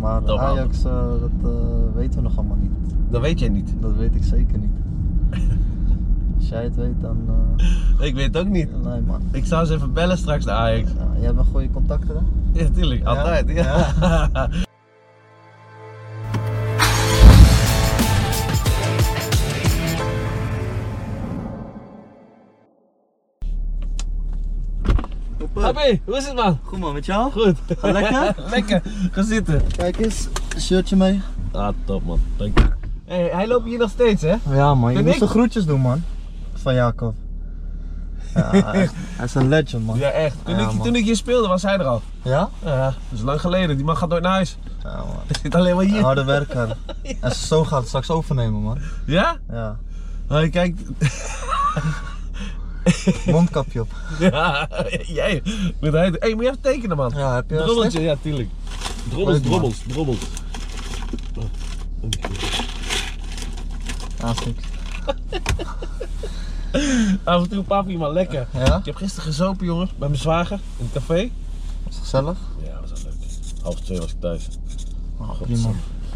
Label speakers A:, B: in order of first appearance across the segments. A: Maar
B: Dat wel.
A: Ajax, eh, dat eh, weten we nog allemaal niet.
B: Dat weet jij niet.
A: Dat weet ik zeker niet. Als jij het weet, dan... eh,
B: Ik weet het ook niet.
A: nee man.
B: Ik zou ze even bellen straks naar Ajax.
A: Ja, jij bent goede contacten hè?
B: Ja, tuurlijk.
A: Ja?
B: Altijd. Ja. Happy, hoe is het man?
A: Goed man, met jou?
B: Goed.
A: Gaat lekker?
B: lekker. Ga zitten.
A: Kijk eens, shirtje mee.
B: Ah, top man. Dank je. Hey, hij loopt hier nog steeds hè?
A: Ja man, je
B: Vind
A: moest
B: ik-
A: de groetjes doen man. Van Jacob. Ja, echt. hij is een legend man.
B: Ja, echt. Toen,
A: Ja,
B: ik,
A: man.
B: toen ik hier speelde was hij er al.
A: Ja?
B: Ja, dat is lang geleden. Die man gaat nooit naar huis.
A: Ja man.
B: Hij zit alleen maar hier.
A: Harde werker. En zo gaat het straks overnemen man.
B: Ja?
A: Ja.
B: Hij kijkt.
A: Mondkapje op.
B: Ja, jij. Moet hij... hey, moet je even tekenen man.
A: Ja, heb je wel
B: Drobbeltje, ja, tuurlijk. Drobbels,
A: Leuk, man.
B: drobbels, drobbels.
A: slecht? Ah, is niks.
B: Af en toe papi, maar lekker.
A: Ja?
B: Ik heb gisteren gezopen, jongen, bij mijn zwager in het café.
A: Is gezellig?
B: Ja, dat was wel leuk. Half twee was ik thuis.
A: Oh,
B: God,
A: prima.
B: zo.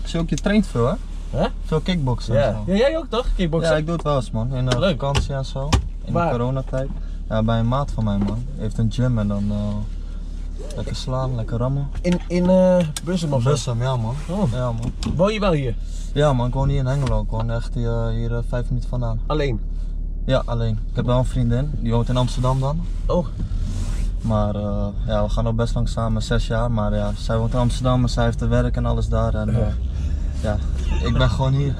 A: Ik zie ook, je traint veel hè?
B: Hè?
A: Veel kickboksen en
B: Ja.
A: zo.
B: ja, jij ook toch? Kickboxen?
A: Ja, ik doe het wel eens man. In de
B: Leuk.
A: vakantie en zo. In
B: Waar?
A: de coronatijd. Ja, bij een maat van mij man. Die heeft een gym en dan eh, lekker slaan, lekker rammen.
B: In, in eh Bussum of zo?
A: Bussum, ja man.
B: Oh.
A: Ja man.
B: Woon je wel hier?
A: Ja man, ik woon hier in Hengelo. Ik woon echt hier, eh, hier eh, vijf minuten vandaan.
B: Alleen?
A: Ja, alleen. Ik heb wel een vriendin. Die woont in Amsterdam dan.
B: Oh,
A: Maar eh, ja, we gaan al best lang samen, zes jaar. Maar ja, zij woont in Amsterdam en zij heeft te werk en alles daar. En eh, ja, ik ben gewoon hier.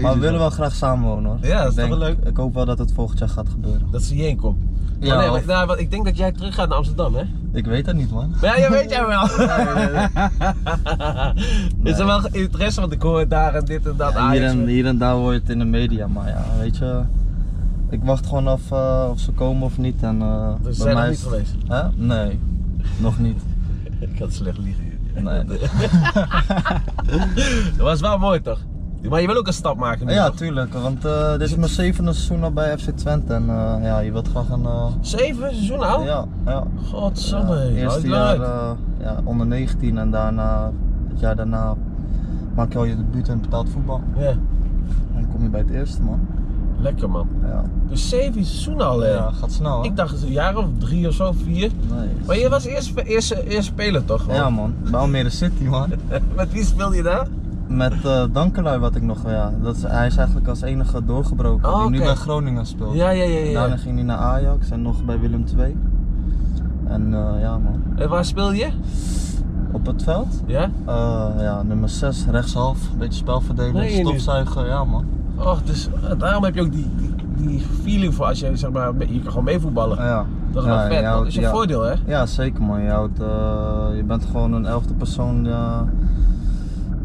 A: Maar we willen wel graag samen wonen hoor.
B: Ja, dat is
A: Ik
B: toch wel leuk.
A: Ik hoop wel dat het volgend jaar gaat gebeuren.
B: Dat ze hierheen komt.
A: Ja,
B: Oh, nee, maar,
A: of-
B: nou, want ik denk dat jij terug gaat naar Amsterdam, hè?
A: Ik weet het niet man.
B: Maar ja, dat weet jij wel. Is
A: Nee.
B: er wel interesse, want ik hoor daar en dit en dat
A: Ja,
B: aan.
A: hier, en, hier en daar hoor je het in de media, maar ja, weet je. Ik wacht gewoon af eh, of ze komen of niet. En, eh, bij
B: Dus ze zijn nog
A: mij
B: niet
A: is-
B: geweest.
A: Hè? Nee, nog niet.
B: Ik had slecht liegen hier.
A: Nee, nee.
B: Dat was wel mooi toch? Maar je wil ook een stap maken nu,
A: Ja,
B: toch?
A: tuurlijk, want eh, dit is mijn zevende seizoen al bij FC Twente. En eh, ja, je wilt graag een. eh,
B: Zeven seizoenen al?
A: Ja, ja.
B: Godsamme,
A: Ja,
B: houdt
A: eerste
B: het
A: jaar
B: uit.
A: eh, ja, onder 19 en daarna, het jaar daarna maak je al je debuut in betaald voetbal.
B: Ja,
A: En kom je bij het eerste man.
B: lekker man.
A: Ja,
B: Dus zeven seizoenen al hè?
A: ja gaat snel hè?
B: Ik Oh, dacht een jaar of drie of zo, vier.
A: Nee.
B: Maar je was eerst, eerst, eh, eerst speler toch? man?
A: Ja man, bij Almere City man.
B: Met wie speelde je daar?
A: Met eh, Dankelui wat ik nog, ja, dat is, hij is eigenlijk als enige doorgebroken
B: Oh,
A: die nu
B: oké.
A: bij Groningen speelt.
B: Ja, ja, ja. ja.
A: Daarna ging hij naar Ajax en nog bij Willem II. En eh, ja man,
B: En waar speelde je?
A: op het veld,
B: Ja?
A: eh, ja, nummer 6, rechtshalf, beetje spelverdelen,
B: Meen je niet?
A: stofzuigen, ja man.
B: Och, dus eh, daarom heb je ook die, die, die feeling voor als je zeg maar, mee- je kan gewoon meevoetballen.
A: Ja.
B: Dat is
A: ja,
B: wel vet,
A: je
B: man. dat
A: houdt-
B: is je
A: ja.
B: voordeel hè?
A: Ja, zeker man. Je, houdt, eh, je bent gewoon een elfde persoon eh,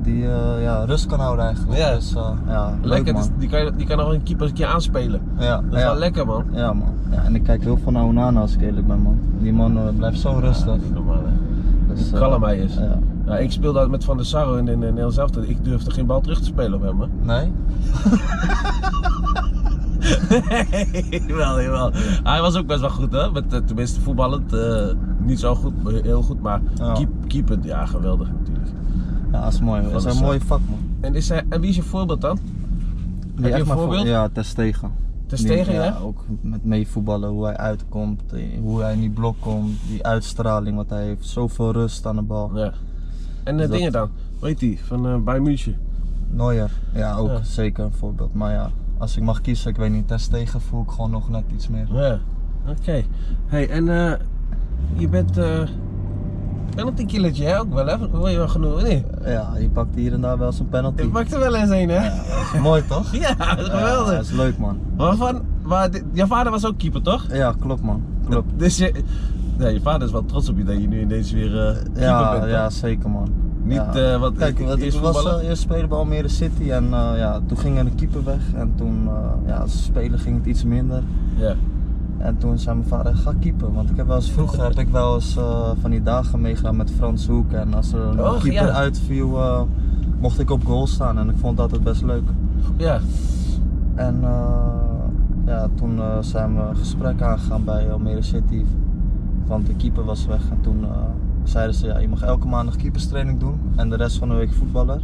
A: die eh, ja, rust kan houden eigenlijk.
B: Ja.
A: Dus, eh, ja leuk,
B: Lekker,
A: man.
B: dus die, kan, je- die kan nog een keeper een keer aanspelen.
A: Ja,
B: Dat is
A: ja.
B: wel lekker man.
A: Ja man. Ja, en ik kijk heel veel naar Onana als ik eerlijk ben man. Die man eh, blijft zo
B: Ja,
A: rustig.
B: niet normaal hè.
A: Dus, eh,
B: kalm hij is.
A: Ja.
B: Ja, ik speelde altijd met Van der Sarro in, in, in heel zelfde. Ik durfde geen bal terug te spelen op hem. Hè?
A: Nee?
B: jawel, jawel. Hij was ook best wel goed, hè? Met, eh, tenminste, voetballend. eh, niet zo goed, maar heel goed. Maar
A: Ja.
B: keep, keeper, ja, geweldig natuurlijk.
A: Ja, dat is mooi.
B: Van
A: Dat is
B: de
A: een
B: Sar.
A: mooie vak man.
B: En, is hij, en wie is je voorbeeld dan?
A: Die
B: je
A: echt
B: een
A: maar voor-
B: voorbeeld?
A: Ja, Testegen.
B: Ter Stegen,
A: Die-
B: hè?
A: ja, ook met meevoetballen, hoe hij uitkomt, eh, hoe hij in die blok komt, die uitstraling wat hij heeft. Zoveel rust aan de bal.
B: Ja. En eh,
A: Dus dat-
B: dingen dan? Weet die? Van eh Bayern München.
A: Neuer, ja, ook
B: Ja.
A: zeker een voorbeeld. Maar ja, als ik mag kiezen, ik weet niet, test tegen voel ik gewoon nog net iets meer.
B: Ja. Oké. Hey, en eh, je bent. eh penalty killertje, hè? Ook wel, hè? Wil je wel genoeg? Nee.
A: Ja, je pakt hier en daar wel eens een penalty.
B: Ik pak er wel eens een, hè?
A: Ja, dat is mooi toch?
B: Ja, geweldig.
A: Ja, dat is leuk man.
B: Maar van, maar di- jouw vader was ook keeper, toch?
A: Ja, klopt man. Klopt.
B: Dus je, ja, je vader is wel trots op je dat je nu ineens weer eh, keeper bent.
A: Ja,
B: toch?
A: ja, zeker man.
B: Niet,
A: ja.
B: eh, wat-
A: Kijk,
B: ik-
A: wat ik
B: eerst
A: was
B: voetballen?
A: eh, eerst spelen bij Almere City en eh, ja, toen ging er een keeper weg. En toen, eh, ja, als speler ging het iets minder.
B: ja.
A: En toen zei mijn vader, ga keeper. Want ik heb wel eens vroeger heb ik wel eens eh, van die dagen meegedaan met Frans Hoek. En als er een
B: Och,
A: keeper
B: ja.
A: uitviel, eh, mocht ik op goal staan. En ik vond dat het best leuk.
B: Ja.
A: En eh, ja, toen eh, zijn we een gesprek aangegaan bij Almere City. Want de keeper was weg. En toen eh, zeiden ze ja, je mag elke maandag keeperstraining doen en de rest van de week voetballer.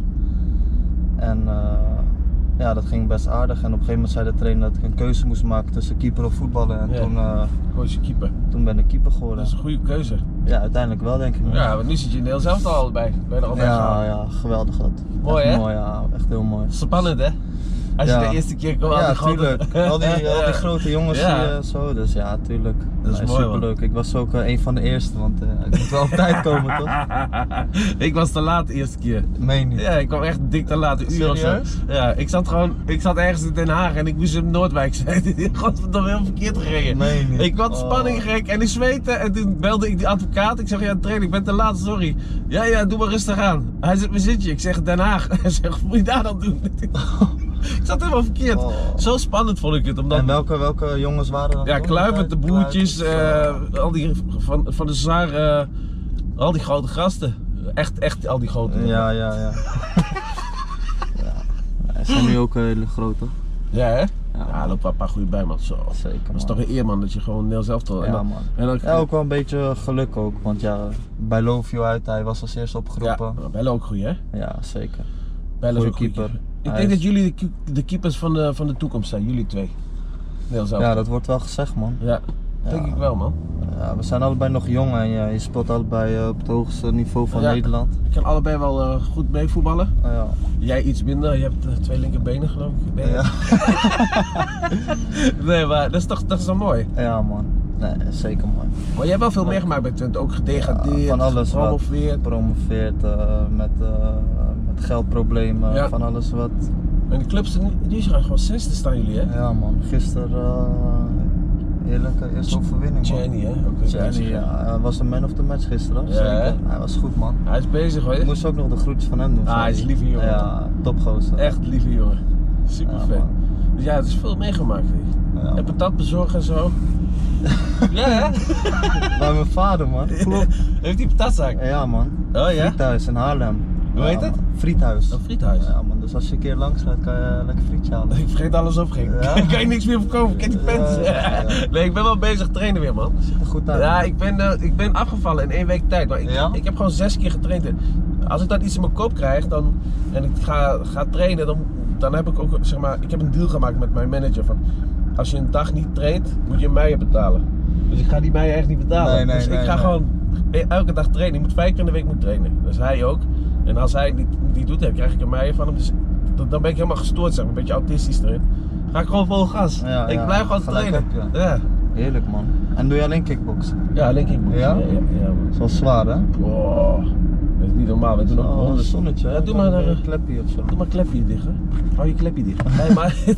A: En eh, ja, dat ging best aardig. En op een gegeven moment zei de trainer dat ik een keuze moest maken tussen keeper of voetballen. En
B: Ja.
A: toen, eh,
B: Koos je keeper.
A: toen ben ik keeper
B: Dat
A: geworden.
B: is een goede keuze.
A: Ja, uiteindelijk wel denk ik. man.
B: Ja, want nu zit je in de heel zelf al bij. Bijna altijd.
A: ja, ja, geweldig dat.
B: Mooi,
A: echt
B: hè?
A: Mooi, ja, echt heel mooi.
B: Spannend hè? Als je
A: Ja.
B: de eerste keer komt aan
A: Ja,
B: die grote-
A: tuurlijk. Al die, al die grote jongens
B: Ja.
A: die, eh, zo, dus ja, tuurlijk.
B: Dat is
A: Nee,
B: mooi, man.
A: Superleuk. Ik was ook eh, een van de eerste, want eh, ik moet wel op tijd komen, toch?
B: ik was te laat de eerste keer.
A: Meen niet.
B: Ja, ik kwam echt dik te laat, een uur of zo.
A: Serieus?
B: Ja, ik zat gewoon, ik zat ergens in Den Haag en ik moest in Noordwijk zijn. Godverdomme, heel verkeerd gereden.
A: Meen niet.
B: Ik had
A: Oh.
B: spanning gek en ik zweette en toen belde ik die advocaat. Ik zeg, ja trainer, ik ben te laat, sorry. Ja, ja, doe maar rustig aan. Hij zegt, waar zit je? Ik zeg, Den Haag. Hij zegt, wat moet je daar dan doen? ik zat helemaal verkeerd.
A: Oh.
B: Zo spannend vond ik het, omdat...
A: En welke, welke jongens waren dat?
B: Ja,
A: toch?
B: Kluivert, de broertjes,
A: Kluivert,
B: eh, al die van, van de Zar, eh, al die grote gasten. Echt, echt al die grote.
A: eh, ja, ja, ja. ja. Ze zijn nu ook eh, hele groot, toch?
B: Ja, hè? Ja, er lopen wel een paar goede bij, man. Zo.
A: Zeker,
B: Dat is
A: man.
B: toch een eer, man, dat je gewoon Neil zelf toch.
A: Ja, man.
B: En dan,
A: Ja, ook wel een beetje geluk ook, want ja, bij Love You uit, hij was als eerste opgeroepen.
B: Ja, Bellen ook goed, hè?
A: Ja, zeker.
B: Bellen is
A: Goeie
B: ook goed.
A: keeper.
B: Ik
A: Hij
B: denk
A: is-
B: dat jullie de, keep- de keepers van de, van de toekomst zijn, jullie twee. Neil zelf.
A: Ja, dat wordt wel gezegd, man.
B: ja. denk
A: Ja.
B: ik wel, man.
A: Ja, we zijn allebei nog jong en ja, je speelt allebei eh, op het hoogste niveau van
B: Ja.
A: Nederland.
B: Ik kan allebei wel eh, goed meevoetballen.
A: Ah, ja.
B: Jij iets minder, je hebt eh, twee linkerbenen, geloof ik. Nee,
A: Ja.
B: nee maar dat is toch dat is wel mooi.
A: ja, man. Nee, zeker mooi.
B: Maar jij hebt wel veel
A: Ja.
B: meegemaakt bij Twente, ook gedegradeerd,
A: Ja, van alles wat.
B: gepromoveerd.
A: Promoveert eh, met, eh, met geldproblemen,
B: Ja.
A: van alles wat.
B: En de clubs, die zijn gewoon zesde staan jullie hè?
A: Ja, man. Gisteren eh heerlijke eerste overwinning, man.
B: Jenny hè? Ook weer
A: Gianni,
B: bezig, hè?
A: ja. Hij was de man of the match gisteren,
B: Ja,
A: zeker.
B: hè?
A: Hij was goed, man.
B: Hij is bezig hoor.
A: Ik moest ook nog de groetjes van hem doen.
B: Ah, hij is lieve jongen.
A: Ja, topgozer.
B: Echt lieve jongen. Super
A: Ja,
B: vet.
A: man.
B: Dus ja, het is veel meegemaakt. hè.
A: Ja,
B: En
A: man.
B: patat bezorgen en zo. ja hè?
A: Bij mijn vader, man. Klopt.
B: Heeft hij patatzaak?
A: Ja, man.
B: Oh ja?
A: Friethuis in Haarlem.
B: Hoe
A: Ja,
B: heet het?
A: man. Friethuis.
B: Een friethuis.
A: Ja, man. Dus als je een keer langs gaat, kan je lekker frietje halen.
B: Ik vergeet alles op, gek.
A: Ja?
B: Ik kan je niks meer verkopen, kijk die pens.
A: Ja, ja.
B: Nee, ik ben wel bezig trainen weer man.
A: Ziet er goed uit.
B: Ja, ik ben, eh, ik ben afgevallen in één week tijd. Maar ik,
A: Ja?
B: ik heb gewoon zes keer getraind. En Als ik dan iets in mijn kop krijg dan, en ik ga, ga trainen, dan, dan heb ik ook zeg maar, ik heb een deal gemaakt met mijn manager. Van, als je een dag niet traint, moet je mij betalen. Dus ik ga die mij echt niet betalen.
A: Nee, nee,
B: dus
A: nee,
B: ik ga
A: nee.
B: gewoon e, elke dag trainen. Ik moet vijf keer in de week moet trainen. Dus hij ook. En als hij niet, niet doet, dan krijg ik een meier van hem. Dus dan dan ben ik helemaal gestoord, zeg maar. Een beetje autistisch erin. Ga ik gewoon vol gas.
A: Ja,
B: ik
A: ja,
B: blijf gewoon
A: gelijk
B: trainen.
A: heb je.
B: Ja.
A: Heerlijk, man. En doe je alleen kickboksen?
B: Ja, alleen kickboxen.
A: Ja?
B: Ja, ja, man.
A: Dat is wel zwaar, hè?
B: Oh, dat is niet normaal. We doen ook
A: Oh, een
B: honderd.
A: zonnetje. hè?
B: Ja, doe
A: Dan
B: maar,
A: weer
B: eh,
A: een klepje of zo.
B: Doe maar klepje dicht, hè. Hou je klepje dicht. Nee, maar...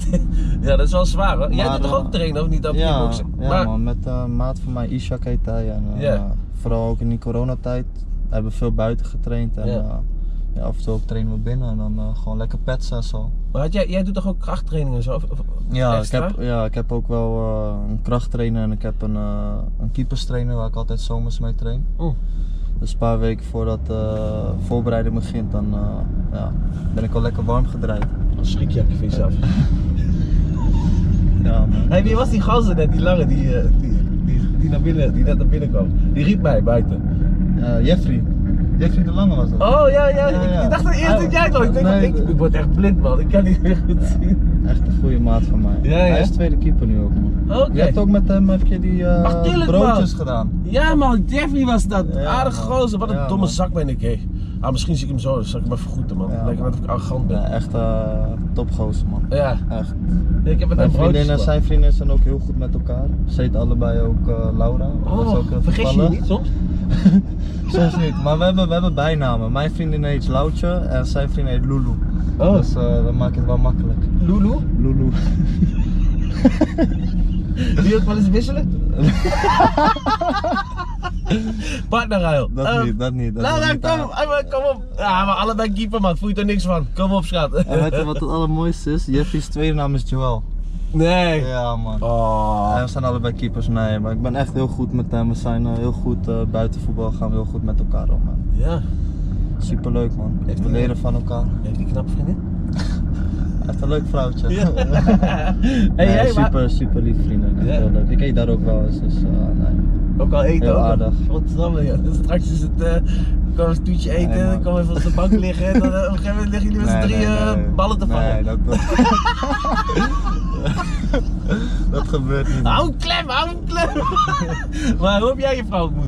B: ja, dat is wel zwaar, hoor. Jij
A: Maar,
B: doet toch
A: eh,
B: ook trainen, of niet? Op
A: Ja,
B: kickboksen?
A: ja
B: maar,
A: man, met eh, een maat van mij, Ishak heet hij. En, eh,
B: Ja.
A: vooral ook in die coronatijd hebben we veel buiten getraind. En
B: Ja.
A: eh, ja, af en toe ook trainen we binnen en dan eh, gewoon lekker petsen en zo.
B: maar had jij, jij doet toch ook krachttraining en zo? Of, of
A: Ja, ik
B: extra?
A: heb, ja, ik heb ook wel eh, een krachttrainer en ik heb een, eh een keeperstrainer waar ik altijd zomers mee train.
B: Oeh.
A: Dus een paar weken voordat de voorbereiding begint, dan eh, ja, ben ik al lekker warm gedraaid.
B: Een schrikjakje van jezelf.
A: Ja, man.
B: Hé, wie was die gozer net, die lange, die, eh, die, die, die, naar binnen, die net naar binnen kwam? Die riep mij buiten.
A: Eh, Jeffrey. Jeffrey de Lange was dat.
B: Oh, ja, ja.
A: Ja,
B: ik-
A: ja.
B: Ik dacht dat eerst dat jij het was. Ik denk,
A: Nee,
B: ik, ik word echt blind, man. Ik kan niet meer goed zien.
A: Echt een goede maat van mij.
B: Ja, ja.
A: Hij is tweede keeper nu ook, man.
B: Oké.
A: Je hebt ook met hem heb je die eh,
B: Ach, tuurlijk,
A: broodjes
B: man.
A: gedaan.
B: Ja man, Jeffrey was dat.
A: Ja,
B: Aardig
A: man.
B: gozer. Wat een
A: Ja,
B: domme
A: man.
B: zak ben ik, hé. Ah, misschien zie ik hem zo, dan zal ik hem even groeten, man.
A: Ja,
B: Lijkt
A: man.
B: net of ik arrogant ben.
A: Ja, echt eh topgozer, man.
B: Ja,
A: Echt.
B: ik heb het
A: Mijn
B: een
A: vriendin en
B: broodje.
A: zijn vriendin zijn ook heel goed met elkaar. Ze heet allebei ook eh, Laura. Dat is
B: Oh,
A: ook eh, heel
B: vergis je je
A: toevallig.
B: niet soms?
A: Soms niet, maar we hebben, we hebben bijnamen. Mijn vriendin heet Loutje en zijn vriendin heet Lulu.
B: Oh,
A: Dus eh dat maakt het wel makkelijk.
B: Lulu?
A: Lulu.
B: Wil je ook wel eens wisselen? Partnerruil.
A: Dat
B: Eh,
A: niet, dat niet. Dat
B: Laura,
A: is niet
B: kom,
A: aan.
B: ah, maar kom op. Ja, maar allebei keeper, man. Voelt er niks van. Kom op, schat.
A: En weet je wat het allermooiste is? Jeffy's tweede naam is Joel.
B: Nee.
A: Ja, man.
B: Oh.
A: En we zijn allebei keepers, nee, maar ik ben echt heel goed met hem. We zijn eh, heel goed eh, buiten voetbal, gaan we heel goed met elkaar om. man.
B: Ja.
A: Superleuk man.
B: Heeft
A: We
B: hij-
A: leren van elkaar.
B: Heeft die knappe vriendin?
A: Echt een leuk vrouwtje.
B: Ja. hey,
A: Nee,
B: hey, maar-
A: super, super lief vrienden. Echt
B: Ja.
A: heel leuk. Ik eet daar ook wel eens, dus eh, nee.
B: Ook al eten
A: Heel
B: ook.
A: aardig.
B: Godsamme, joh. Dus straks is het, eh kan een toetje eten,
A: Nee, man.
B: kan even op de bank liggen. En dan eh, op een gegeven moment liggen jullie met z'n drieën eh, ballen te vangen.
A: Nee, dat, dat gebeurt niet. man.
B: Hou hem klem, hou hem klem. maar hoe heb jij je vrouw ontmoet?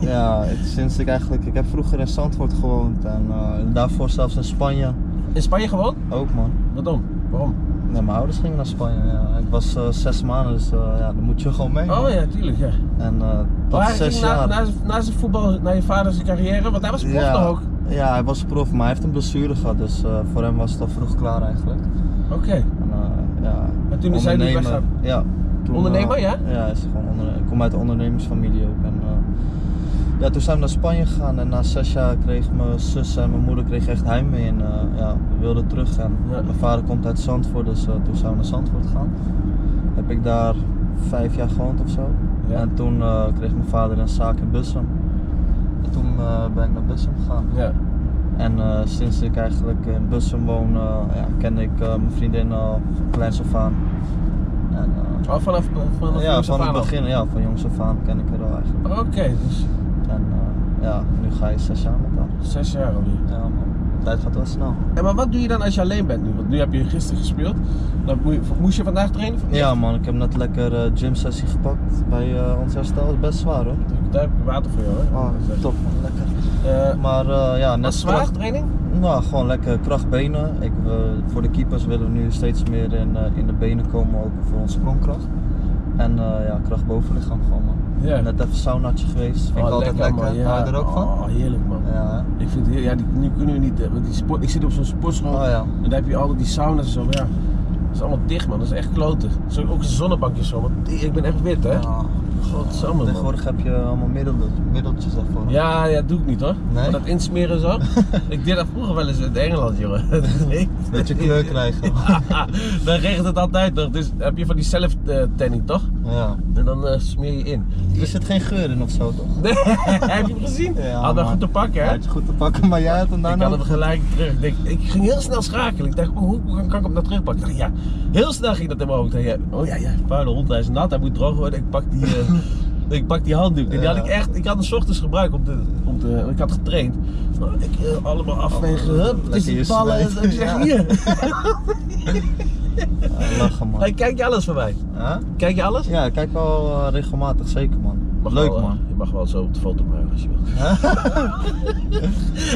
A: Ja, het- sinds ik eigenlijk... Ik heb vroeger in Zandvoort gewoond en eh, daarvoor zelfs in Spanje.
B: In Spanje gewoond?
A: Ook man.
B: Waarom? Waarom?
A: Nee, mijn ouders gingen naar Spanje. Ja. Ik was eh, zes maanden, dus eh, ja, dan moet je gewoon mee. man.
B: Oh ja, tuurlijk, ja.
A: En eh, tot
B: Maar hij
A: zes
B: ging na,
A: jaar.
B: na, zijn- na zijn voetbal, naar je vader zijn carrière, want hij was prof
A: ja,
B: nog ook.
A: ja, hij was prof, maar hij heeft een blessure gehad, dus eh, voor hem was het al vroeg klaar eigenlijk.
B: Oké.
A: En, eh, ja,
B: En toen is hij dus
A: ondernemer.
B: weggaan.
A: Ja. Toen,
B: Ondernemer,
A: eh,
B: ja?
A: Ja, hij is gewoon onder, ik kom uit een ondernemersfamilie ook. En, eh, ja, toen zijn we naar Spanje gegaan en na zes jaar kreeg mijn zus en mijn moeder kreeg echt heimwee en eh, ja, we wilden terug. En
B: Ja.
A: Mijn vader komt uit Zandvoort, dus eh, toen zijn we naar Zandvoort gegaan. Heb ik daar vijf jaar gewoond of zo.
B: Ja.
A: En toen eh, kreeg mijn vader een zaak in Bussum. En toen eh, ben ik naar Bussum gegaan.
B: Ja.
A: En eh, sinds ik eigenlijk in Bussum woon, eh, ja, ken ik eh, mijn vriendin al van kleins af aan. En, eh,
B: Al Oh, vanaf, vanaf
A: ja,
B: jongs af
A: van het
B: aan al.
A: begin, ja, van jongs af aan ken ik haar al eigenlijk.
B: Oké, dus
A: En eh, ja, nu ga je zes jaar met haar.
B: zes jaar alweer.
A: Ja man, de tijd gaat wel snel.
B: En maar wat doe je dan als je alleen bent nu? Want nu heb je gisteren gespeeld. Dan moe- moest je vandaag trainen? Of niet?
A: Ja man, ik heb net lekker eh, gymsessie gepakt bij eh, ons herstel, is best zwaar hoor.
B: Daar heb je water voor jou, hè?
A: Oh, top man, lekker.
B: Eh,
A: Maar eh, ja,
B: maar
A: net
B: zwaar
A: kracht-
B: training?
A: Nou, gewoon lekker krachtbenen. Ik, we- voor de keepers willen we nu steeds meer in, eh, in de benen komen, ook voor onze sprongkracht. En eh, ja, kracht bovenlichaam gewoon man.
B: Ja.
A: Net even saunaatje geweest, vind ik altijd lekker.
B: Oh, man, ja.
A: Hou je er ook van?
B: Oh, heerlijk man.
A: Ja,
B: Ik vind het heel, ja, die, nu kunnen we niet, eh, want die sport, ik zit op zo'n
A: hè?
B: sportschool
A: oh ja.
B: en daar heb je altijd die sauna's en zo, maar ja, dat is allemaal dicht man, dat is echt kloten. Zo, ook een zonnebakje zo, want die- ik ben echt wit hè.
A: Ja.
B: Godsamme man.
A: Tegenwoordig heb je allemaal middeltjes, middeltjes daarvoor.
B: Ja, ja, doe ik niet hoor.
A: Nee?
B: Maar dat insmeren zo. ik deed dat vroeger wel eens in Engeland, jongen. Nee.
A: Beetje kleur krijgen.
B: dan regent het altijd nog. Dus heb je van die self-tanning toch?
A: Ja.
B: En dan eh, smeer je in.
A: Er zit geen geur in of zo toch?
B: Nee, heb je hem gezien?
A: Ja,
B: Had dat
A: man.
B: goed te pakken,
A: Ja, nou,
B: hè?
A: het is goed te pakken, maar jij had hem
B: Ik
A: daarna.
B: had hem gelijk terug. Ik, denk, ik ging heel snel schakelen. Ik dacht, oh, hoe kan, kan ik hem nou terugpakken? Ik dacht, ja, heel snel ging dat in mijn hoofd. Ik dacht, ja, oh ja, ja, vuile hond, hij is nat, hij moet droog worden. Ik pak die, eh, ik pak die handdoek. En die
A: Ja.
B: had ik echt, ik had hem 's ochtends gebruikt om te, om te, want ik had getraind. Nou, ik eh, allemaal afwegen, hup,
A: Lekker
B: tussen
A: je
B: de ballen. En
A: zweet.
B: zo. ik zeg,
A: Ja.
B: hier.
A: Ja, lachen man.
B: Hey, kijk je alles van mij?
A: Huh?
B: Kijk je alles?
A: Ja, ik kijk wel eh, regelmatig, zeker man.
B: Mag
A: Leuk
B: wel, eh,
A: man.
B: Je mag wel zo op de foto brengen als je wilt.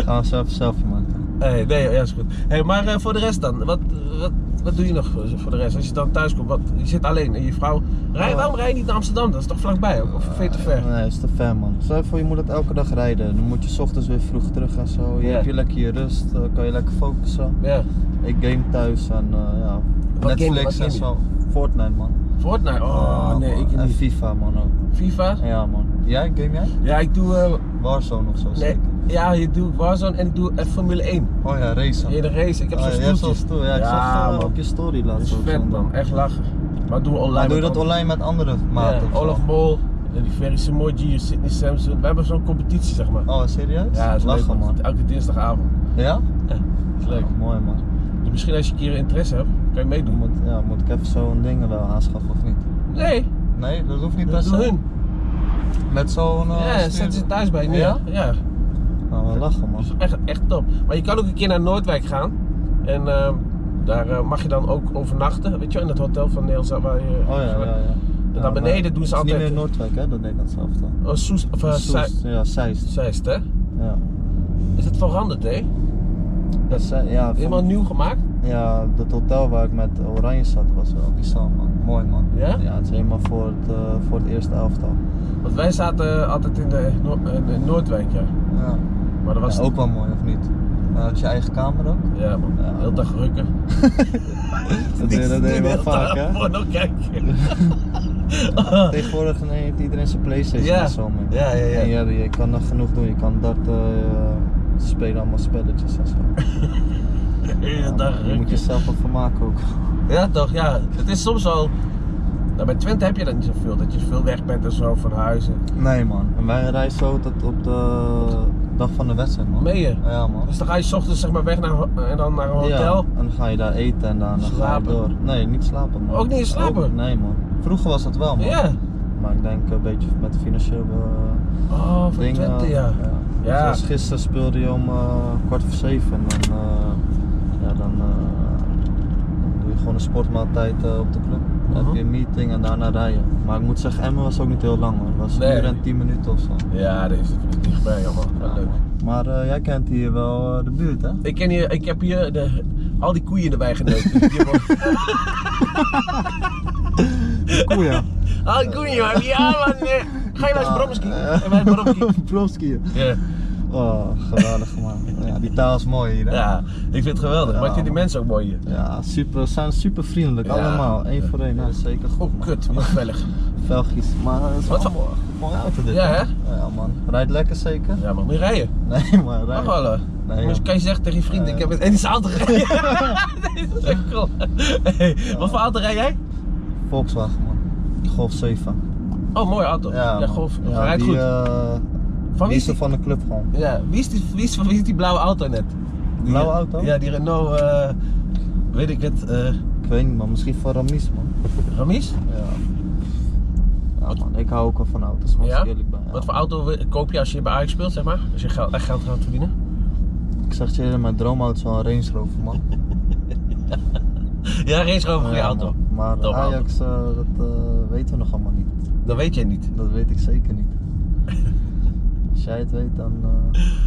A: Gaan we zo even een selfie maken.
B: Hey, nee, ja, is goed. Hey, maar eh, voor de rest dan, wat, wat, wat doe je nog voor voor de rest? Als je dan thuis komt, wat, je zit alleen en je vrouw. Rij,
A: Ja.
B: Waarom rij je niet naar Amsterdam? Dat is toch vlakbij ook? Of veel te ver?
A: Nee, is te ver man. Stel je voor je moet het elke dag rijden. Dan moet je 's ochtends weer vroeg terug en zo. Je
B: Ja.
A: hebt je lekker je rust, eh, kan je lekker focussen.
B: Ja.
A: Ik game thuis en eh, ja,
B: Wat game- wat
A: Netflix
B: game
A: en
B: je?
A: zo. Fortnite man.
B: Fortnite? Oh,
A: Ja,
B: nee,
A: man.
B: ik
A: En
B: niet.
A: FIFA man ook.
B: FIFA?
A: Ja man. Jij, game jij?
B: Ja, ik doe, eh,
A: Warzone of zo
B: nee,
A: zeker?
B: ja, ik doe Warzone en ik doe F Formule 1.
A: Oh ja, racen.
B: In de race, ik heb
A: Oh,
B: zo'n
A: je hebt zo'n
B: stoeltje.
A: stoel. Ja, ik
B: Ja,
A: zag het
B: man.
A: op je story
B: Dat
A: laatst
B: is
A: ook
B: vet
A: zo'n-
B: man, echt lachen. Maar doe online.
A: Maar doe je
B: met
A: dat
B: anderen.
A: online met andere maten?
B: Ja,
A: of zo?
B: Olaf Mol, eh, die Ferry Samoji, Sydney Samson. We hebben zo'n competitie zeg maar.
A: Oh, serieus?
B: Ja, dat is
A: Lachen
B: leuk,
A: man.
B: Elke dinsdagavond.
A: Ja?
B: Ja, dat is leuk.
A: Oh, mooi man.
B: Dus misschien als je een keer interesse hebt, kan je
A: Dan
B: meedoen.
A: Moet, ja, moet ik even zo'n ding wel aanschaffen of niet?
B: Nee,
A: Nee, dat hoeft niet
B: dat
A: per
B: doen
A: se.
B: hun.
A: Met zo'n. eh,
B: Ja,
A: stuur-
B: zetten ze thuis bij neer.
A: Ja?
B: Ja,
A: Nou, we lachen man.
B: dus echt, echt top. Maar je kan ook een keer naar Noordwijk gaan. En ehm, daar eh, mag je dan ook overnachten, weet je wel, in het hotel van Niels. Waar je,
A: Oh ja, ja, ja.
B: En
A: Ja,
B: daar
A: maar
B: beneden doen ze
A: het is
B: altijd...
A: Niet meer Noordwijk, hè? Dat deed dat zelf dan.
B: Oh, Soest, of eh,
A: Soest, ja,
B: Zei-
A: Zeist.
B: Zeist, hè?
A: Ja.
B: Is het veranderd, hè?
A: Dat is, eh, ja,
B: Helemaal
A: van-
B: nieuw gemaakt?
A: ja, dat hotel waar ik met Oranje zat was wel bizar man. Mooi man.
B: Ja?
A: Ja, het is helemaal voor het, eh, voor het eerste elftal.
B: Want wij zaten eh, altijd in, de, Noor- in- in Noordwijk, ja.
A: Ja.
B: Maar dat was...
A: Ja, ook wel mooi, of niet? Nou, had je eigen kamer ook?
B: Ja, man.
A: Ja.
B: Heel dag rukken.
A: Dat deed dat deed je wel vaak, hè?
B: Porno kijken.
A: Tegenwoordig heeft iedereen zijn Playstation
B: Ja.
A: en zo mee.
B: Ja, ja, ja.
A: En je, je kan nog genoeg doen. Je kan dat eh, spelen, allemaal spelletjes en zo.
B: Hele Eh, dag
A: je moet
B: rukken.
A: jezelf wat van maken ook.
B: Ja, toch? Ja, het is soms al. Nou, bij Twente heb je dat niet zoveel, dat je veel weg bent en zo van huizen.
A: Nee man. En wij reizen zo tot op de dag van de wedstrijd man.
B: Meen je?
A: Ja man.
B: Dus dan ga je 's ochtends zeg maar weg naar, ho- eh, en dan naar een hotel.
A: Ja, en dan ga je daar eten en daarna ga je
B: Slapen.
A: door. Nee, niet slapen man.
B: Ook niet slapen?
A: nee man. Vroeger was dat wel
B: Ja,
A: man. Maar ik denk een beetje met financiële eh,
B: Oh, van
A: dingen.
B: Twente, ja. Ja.
A: Zoals gisteren speelde je om eh, kwart voor zeven. En eh, ja, dan eh, dan doe je gewoon een sportmaaltijd eh, op de club. Dan heb
B: Mhm.
A: je een meeting en daarna rijden. Maar ik moet zeggen, Emmen was ook niet heel lang hoor. Het was een
B: Nee.
A: uur en tien minuten of zo.
B: Ja, deze vind ik dichtbij allemaal. Ja, leuk.
A: Maar eh, jij kent hier wel eh, de buurt hè?
B: Ik, ken hier, ik heb hier de, al die koeien erbij geneukt. Die hier wonen.
A: Koeien.
B: al die koeien, man. Ja, man. eh, Ga je naar Bromski? En wij Bromski.
A: Bromski.
B: Ja.
A: Eh, Oh, geweldig man. Ja, die taal is mooi hier. hè?
B: ja, ik vind het geweldig.
A: Ja,
B: maar ik vind die
A: man.
B: mensen ook mooi hier.
A: Ja, super, ze zijn super vriendelijk,
B: Ja.
A: allemaal. één voor één, ja, zeker. Goed,
B: Oh, kut. Wat vellig.
A: Belgisch. Maar eh, het is
B: Wat
A: wel
B: voor-
A: mooi. Mooie auto dit.
B: Ja, hè?
A: Ja, man. Rijdt lekker zeker?
B: Ja, maar moet je rijden?
A: Nee, maar
B: Mag
A: rijdt.
B: wel. hè?
A: Nee,
B: Moest-
A: joh.
B: kan je zeggen tegen je vrienden,
A: Nee.
B: ik heb het eens auto gereden. Nee, dat is echt cool. Hey, Wat voor auto rij jij?
A: Volkswagen, man. Golf 7.
B: Oh, mooie auto. Ja,
A: man.
B: golf.
A: Ja,
B: rijdt
A: die,
B: goed.
A: eh,
B: van
A: die
B: wie is
A: is er
B: die,
A: van de club gewoon.
B: ja, wie is die, wie is, van wie is die blauwe auto net? Die-
A: Blauwe auto?
B: Ja, die Renault, eh, weet ik het, eh
A: Ik weet niet, man. Misschien van Ramis, man.
B: Ramis?
A: Ja. Ja, man. Ik hou ook wel van auto's, man. als
B: Ja?
A: ik eerlijk ben. Ja,
B: Wat voor
A: man.
B: auto wil- koop je als je bij Ajax speelt, zeg maar? Als je geld, echt geld gaat verdienen?
A: Ik zeg je eerlijk, mijn droomauto is wel een Range Rover, man.
B: Ja, Range Rover, goede
A: Ja,
B: auto.
A: man. Maar
B: Top auto.
A: Ajax, eh, dat eh, weten we nog allemaal niet.
B: Dat weet jij niet.
A: Dat weet ik zeker niet. Als jij het weet, dan.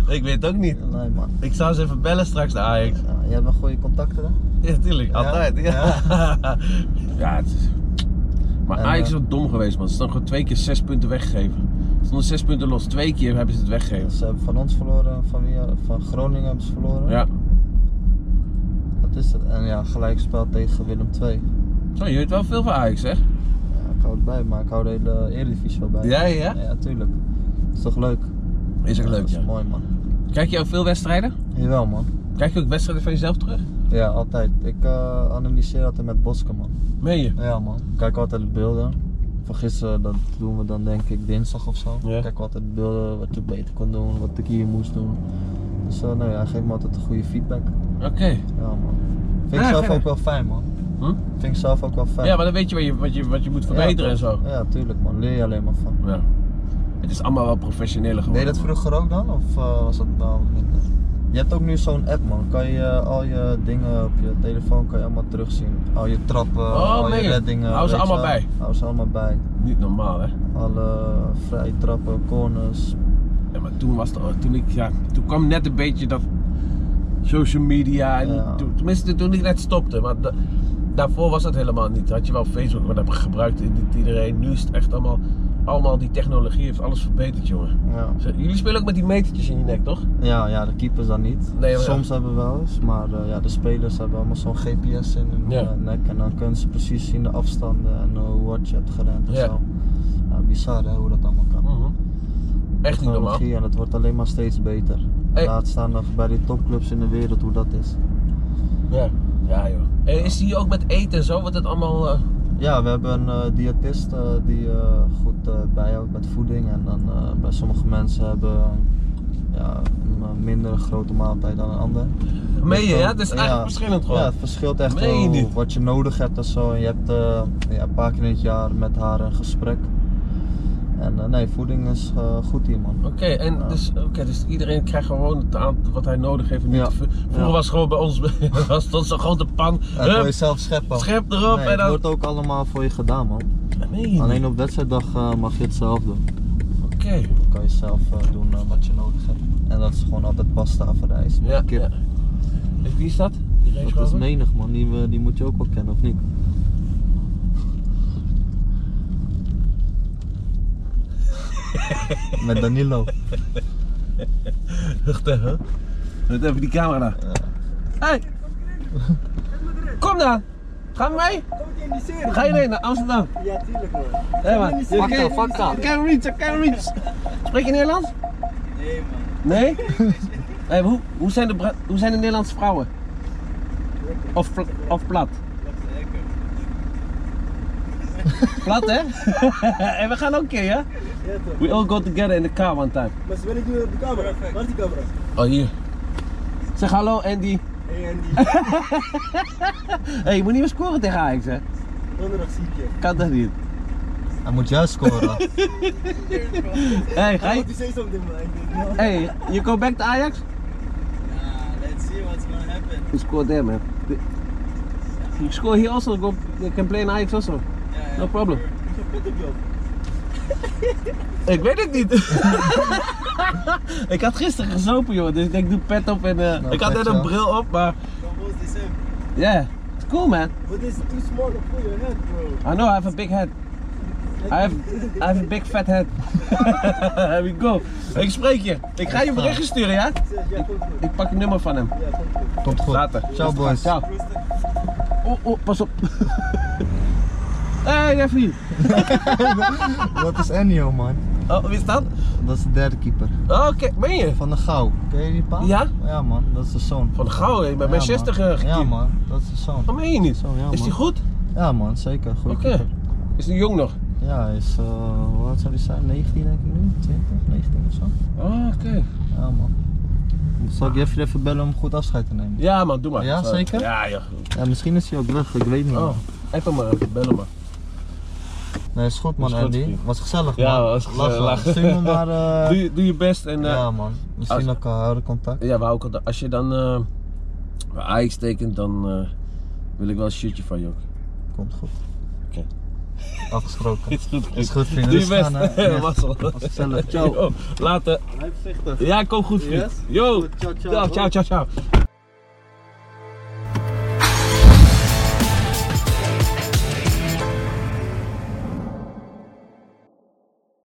A: eh,
B: Ik weet het ook niet.
A: nee, man.
B: Ik zou eens even bellen straks naar Ajax.
A: Ja, jij hebt goede contacten, hè?
B: Ja, tuurlijk.
A: Ja?
B: Altijd. Ja. Ja. het is... Maar
A: En,
B: Ajax is
A: eh,
B: ook dom geweest, man. Ze stonden gewoon twee keer zes punten weggegeven. Ze stonden zes punten los. Twee keer hebben ze het weggegeven.
A: Ze hebben van ons verloren, van, wie, van Groningen hebben ze verloren.
B: Ja.
A: Dat is het. En ja, gelijkspel tegen Willem II.
B: Zo, je weet wel veel van Ajax, hè?
A: Ja, ik hou het bij, maar ik hou de hele Eredivisie wel bij.
B: Ja, ja, ja.
A: Ja, tuurlijk. is toch leuk?
B: Is echt leuk,
A: Dat is
B: ja.
A: mooi, man.
B: Kijk je ook veel wedstrijden?
A: Jawel, man.
B: Kijk je ook wedstrijden van jezelf terug?
A: Ja, altijd. Ik eh, analyseer altijd met Boske, man.
B: Meen je?
A: Ja man, ik kijk altijd de beelden. Van gisteren, dat doen we dan denk ik dinsdag of zo.
B: Ja.
A: Ik kijk altijd de beelden, wat ik beter kon doen, wat ik hier moest doen. Dus eh, nou ja, hij geeft me altijd een goede feedback.
B: Oké.
A: Ja man. Vind ik
B: Ja,
A: zelf
B: Ah, verder.
A: ook wel fijn man.
B: Hm?
A: Vind ik zelf ook wel fijn.
B: Ja, maar dan weet je wat je, wat je, wat je moet verbeteren
A: Ja,
B: en zo.
A: Ja, tuurlijk man. Leer je alleen maar van.
B: Ja. Het is allemaal wel professioneler
A: Deed
B: geworden.
A: je dat vroeger ook dan? Of eh, was dat wel minder? Je hebt ook nu zo'n app man. Kan je eh, al je dingen op je telefoon kan je allemaal terugzien. Al je trappen,
B: Oh,
A: al
B: meen
A: je
B: je?
A: reddingen.
B: Hou ze
A: weet je
B: allemaal
A: wel.
B: bij.
A: Hou ze allemaal bij.
B: Niet normaal, hè?
A: Alle eh, vrije trappen, corners.
B: Ja, maar toen was het, oh, toen ik, ja, toen kwam net een beetje dat social media en
A: Ja.
B: toen, tenminste toen ik net stopte, maar da- daarvoor was dat helemaal niet. Had je wel Facebook, maar dat gebruikte niet iedereen. Nu is het echt allemaal, allemaal die technologie heeft alles verbeterd, jongen.
A: Ja.
B: Zeg, Jullie spelen ook met die metertjes in je nek, toch?
A: Ja, ja, de keepers dan niet.
B: Nee, maar-
A: Soms hebben we wel eens, maar eh, ja, de spelers hebben allemaal zo'n GPS in hun
B: Ja.
A: eh, nek. En dan kunnen ze precies zien de afstanden en eh, hoe hard je hebt gerend en
B: Ja.
A: zo. Ja, bizar hè, hoe dat allemaal kan.
B: Echt niet normaal.
A: Mhm. Technologie en het wordt alleen maar steeds beter.
B: Hey.
A: Laat staan nog bij die topclubs in de wereld hoe dat is.
B: Ja, ja joh. En is die ook met eten en zo, wat het allemaal... eh,
A: Ja, we hebben een eh, diëtist eh, die eh, goed eh, bijhoudt met voeding. En dan eh, bij sommige mensen hebben ja, een eh, minder grote maaltijd dan een ander.
B: meen je,
A: Dus,
B: ja?
A: eh,
B: Het is eigenlijk verschillend gewoon.
A: Ja, het verschilt echt
B: Meen je
A: wel
B: niet?
A: wat je nodig hebt en zo. En je hebt eh, ja, een paar keer in het jaar met haar een gesprek. En eh, nee, voeding is eh, goed hier, man.
B: Oké, en
A: Ja.
B: dus, oké, dus iedereen krijgt gewoon het aan wat hij nodig heeft. en niet
A: Ja.
B: te veel. Vroeger
A: Ja.
B: was het gewoon bij ons, was het zo'n grote pan.
A: En dat wil je
B: Hup,
A: zelf scheppen.
B: schep erop
A: Nee,
B: en
A: het
B: dan...
A: wordt ook allemaal voor je gedaan, man.
B: Nee, niet.
A: Alleen op wedstrijddag eh, mag je het zelf doen.
B: Oké,
A: Dan kan je zelf eh, doen eh, wat je nodig hebt. En dat is gewoon altijd pasta voor de ijs.
B: ja.
A: Kip.
B: ja. En Wie is dat? Die race
A: Dat is
B: rover?
A: menig, man. Die, we- die moet je ook wel kennen, of niet? Met Danilo.
B: Wacht even. Wacht even die camera naar. Hey! Kom dan! Gaan we mee? Ga je mee naar Amsterdam? Ja, tuurlijk man. Hé man, je
A: Fuck
B: ken-
A: dat, fuck dat.
B: ik ken hem niet, ik ken hem niet. Spreek je Nederlands? Nee man. Nee? Hé, hoe, hoe, zijn de, Bra- hoe zijn de Nederlandse vrouwen? Of, pl- of plat? Plat hè? En we gaan ook een keer hè? We all go together in the car one time.
C: Maar ze willen nu op de camera. Waar is die camera?
B: Oh, hier. Zeg hallo Andy.
C: Hey Andy,
B: Hé, je moet niet meer scoren tegen Ajax, hè?
C: donderdag zie ik je.
B: Kan dat niet?
A: Hij moet juist scoren.
D: Hey, ga je...
C: Moet die seizoen doen, man. Ik denk, nou.
D: Hey, you go back to Ajax?
C: Ah, Let's see what's gonna happen.
D: You score there, man. You score here also, go, you can play in Ajax also.
C: Ja, ja,
D: No problem.
C: Ik heb het op jou.
D: Ik weet het niet. ik had gisteren gezopen, joh, dus ik denk, doe pet op en... eh,
A: Nou,
B: Ik had net
A: dankjewel.
B: een bril op, maar
C: Almost the same.
D: yeah, it's cool, man.
C: But it's too small for your head, bro.
D: I know, I have a big head. I have, I have a big fat head. Here we go.
B: ik spreek je. Ik ga je berichtje sturen, ja?
C: Zeg, Ja, komt goed.
D: Ik pak het nummer van hem.
C: Ja, komt goed.
A: Komt goed.
B: Later.
A: Ciao boys.
D: Ciao.
C: Rustig.
D: Oh, oh, pas op. hey, Jeffrey.
A: Dat is Ennio man.
B: Oh, wie is dat?
A: Dat is de derde keeper.
B: Oh, Oké, ben je?
A: Van de Gouw. Ken je die pa?
B: Ja?
A: Ja man, dat is de zoon.
B: Van Gouw, hè?
A: Ja,
B: bij eh, mijn
A: man.
B: 60 gekiept.
A: Ja man, dat is de zoon.
B: Dat meen Oh, je niet.
A: Zo, ja,
B: is die
A: man.
B: goed?
A: Ja man, zeker. Goeie
B: Oké.
A: keeper.
B: Is die jong nog?
A: Ja, hij is, eh, hoe oud zou die zijn? 19 denk ik nu? 20, 19 of zo?
B: Oh, oké.
A: Ja man. Zal ik Jeffrey even bellen om goed afscheid te nemen?
B: Ja man, doe maar.
A: Ja,
B: Sorry.
A: zeker?
B: Ja, ja.
A: Ja, misschien is hij ook weg, ik weet niet.
B: Oh, even maar even bellen maar.
A: Nee, is goed man
B: Is goed,
A: Andy.
B: vriend.
A: Was gezellig man.
B: Ja, was gezellig.
A: Lachen. nou? Stuur me maar... eh,
B: Doe, je- doe je best en... eh,
A: ja man, misschien
B: als-
A: ook eh, houden contact.
B: Ja, maar ook al- als je dan eh bij Ajax tekent, dan eh, wil ik wel een shirtje van je ook.
A: Komt goed.
B: Oké.
A: Afgesproken.
B: Is goed,
A: Is goed vrienden.
B: Doe je
A: Dus
B: best.
A: gaan, eh, ja.
B: Mazzel.
A: Was gezellig. Ciao.
B: Yo, Later.
A: Blijf voorzichtig.
B: Ja, kom goed, vriend.
A: Yes?
B: Yo.
A: Goed, ciao, ciao.
B: Ciao, ciao, ciao. ciao.